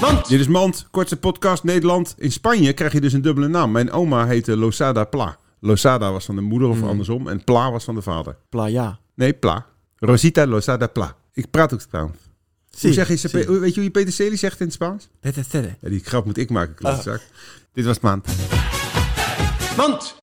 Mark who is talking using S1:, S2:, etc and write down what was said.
S1: Want
S2: Dit is Mand, kortste podcast Nederland. In Spanje krijg je dus een dubbele naam. Mijn oma heette Losada Pla. Losada was van de moeder
S1: Hmm.
S2: of andersom en Pla was van de vader.
S1: playa.
S2: Nee, Pla. Rosita Losada Pla. Ik praat ook Spaans. Hoe zeg je, ze-
S1: zie.
S2: weet je hoe je Peter Celi zegt in het Spaans?
S1: Dit is dit. Ah.
S2: Ja, die grap moet ik maken, klootzak. Dit was Maand.
S1: Want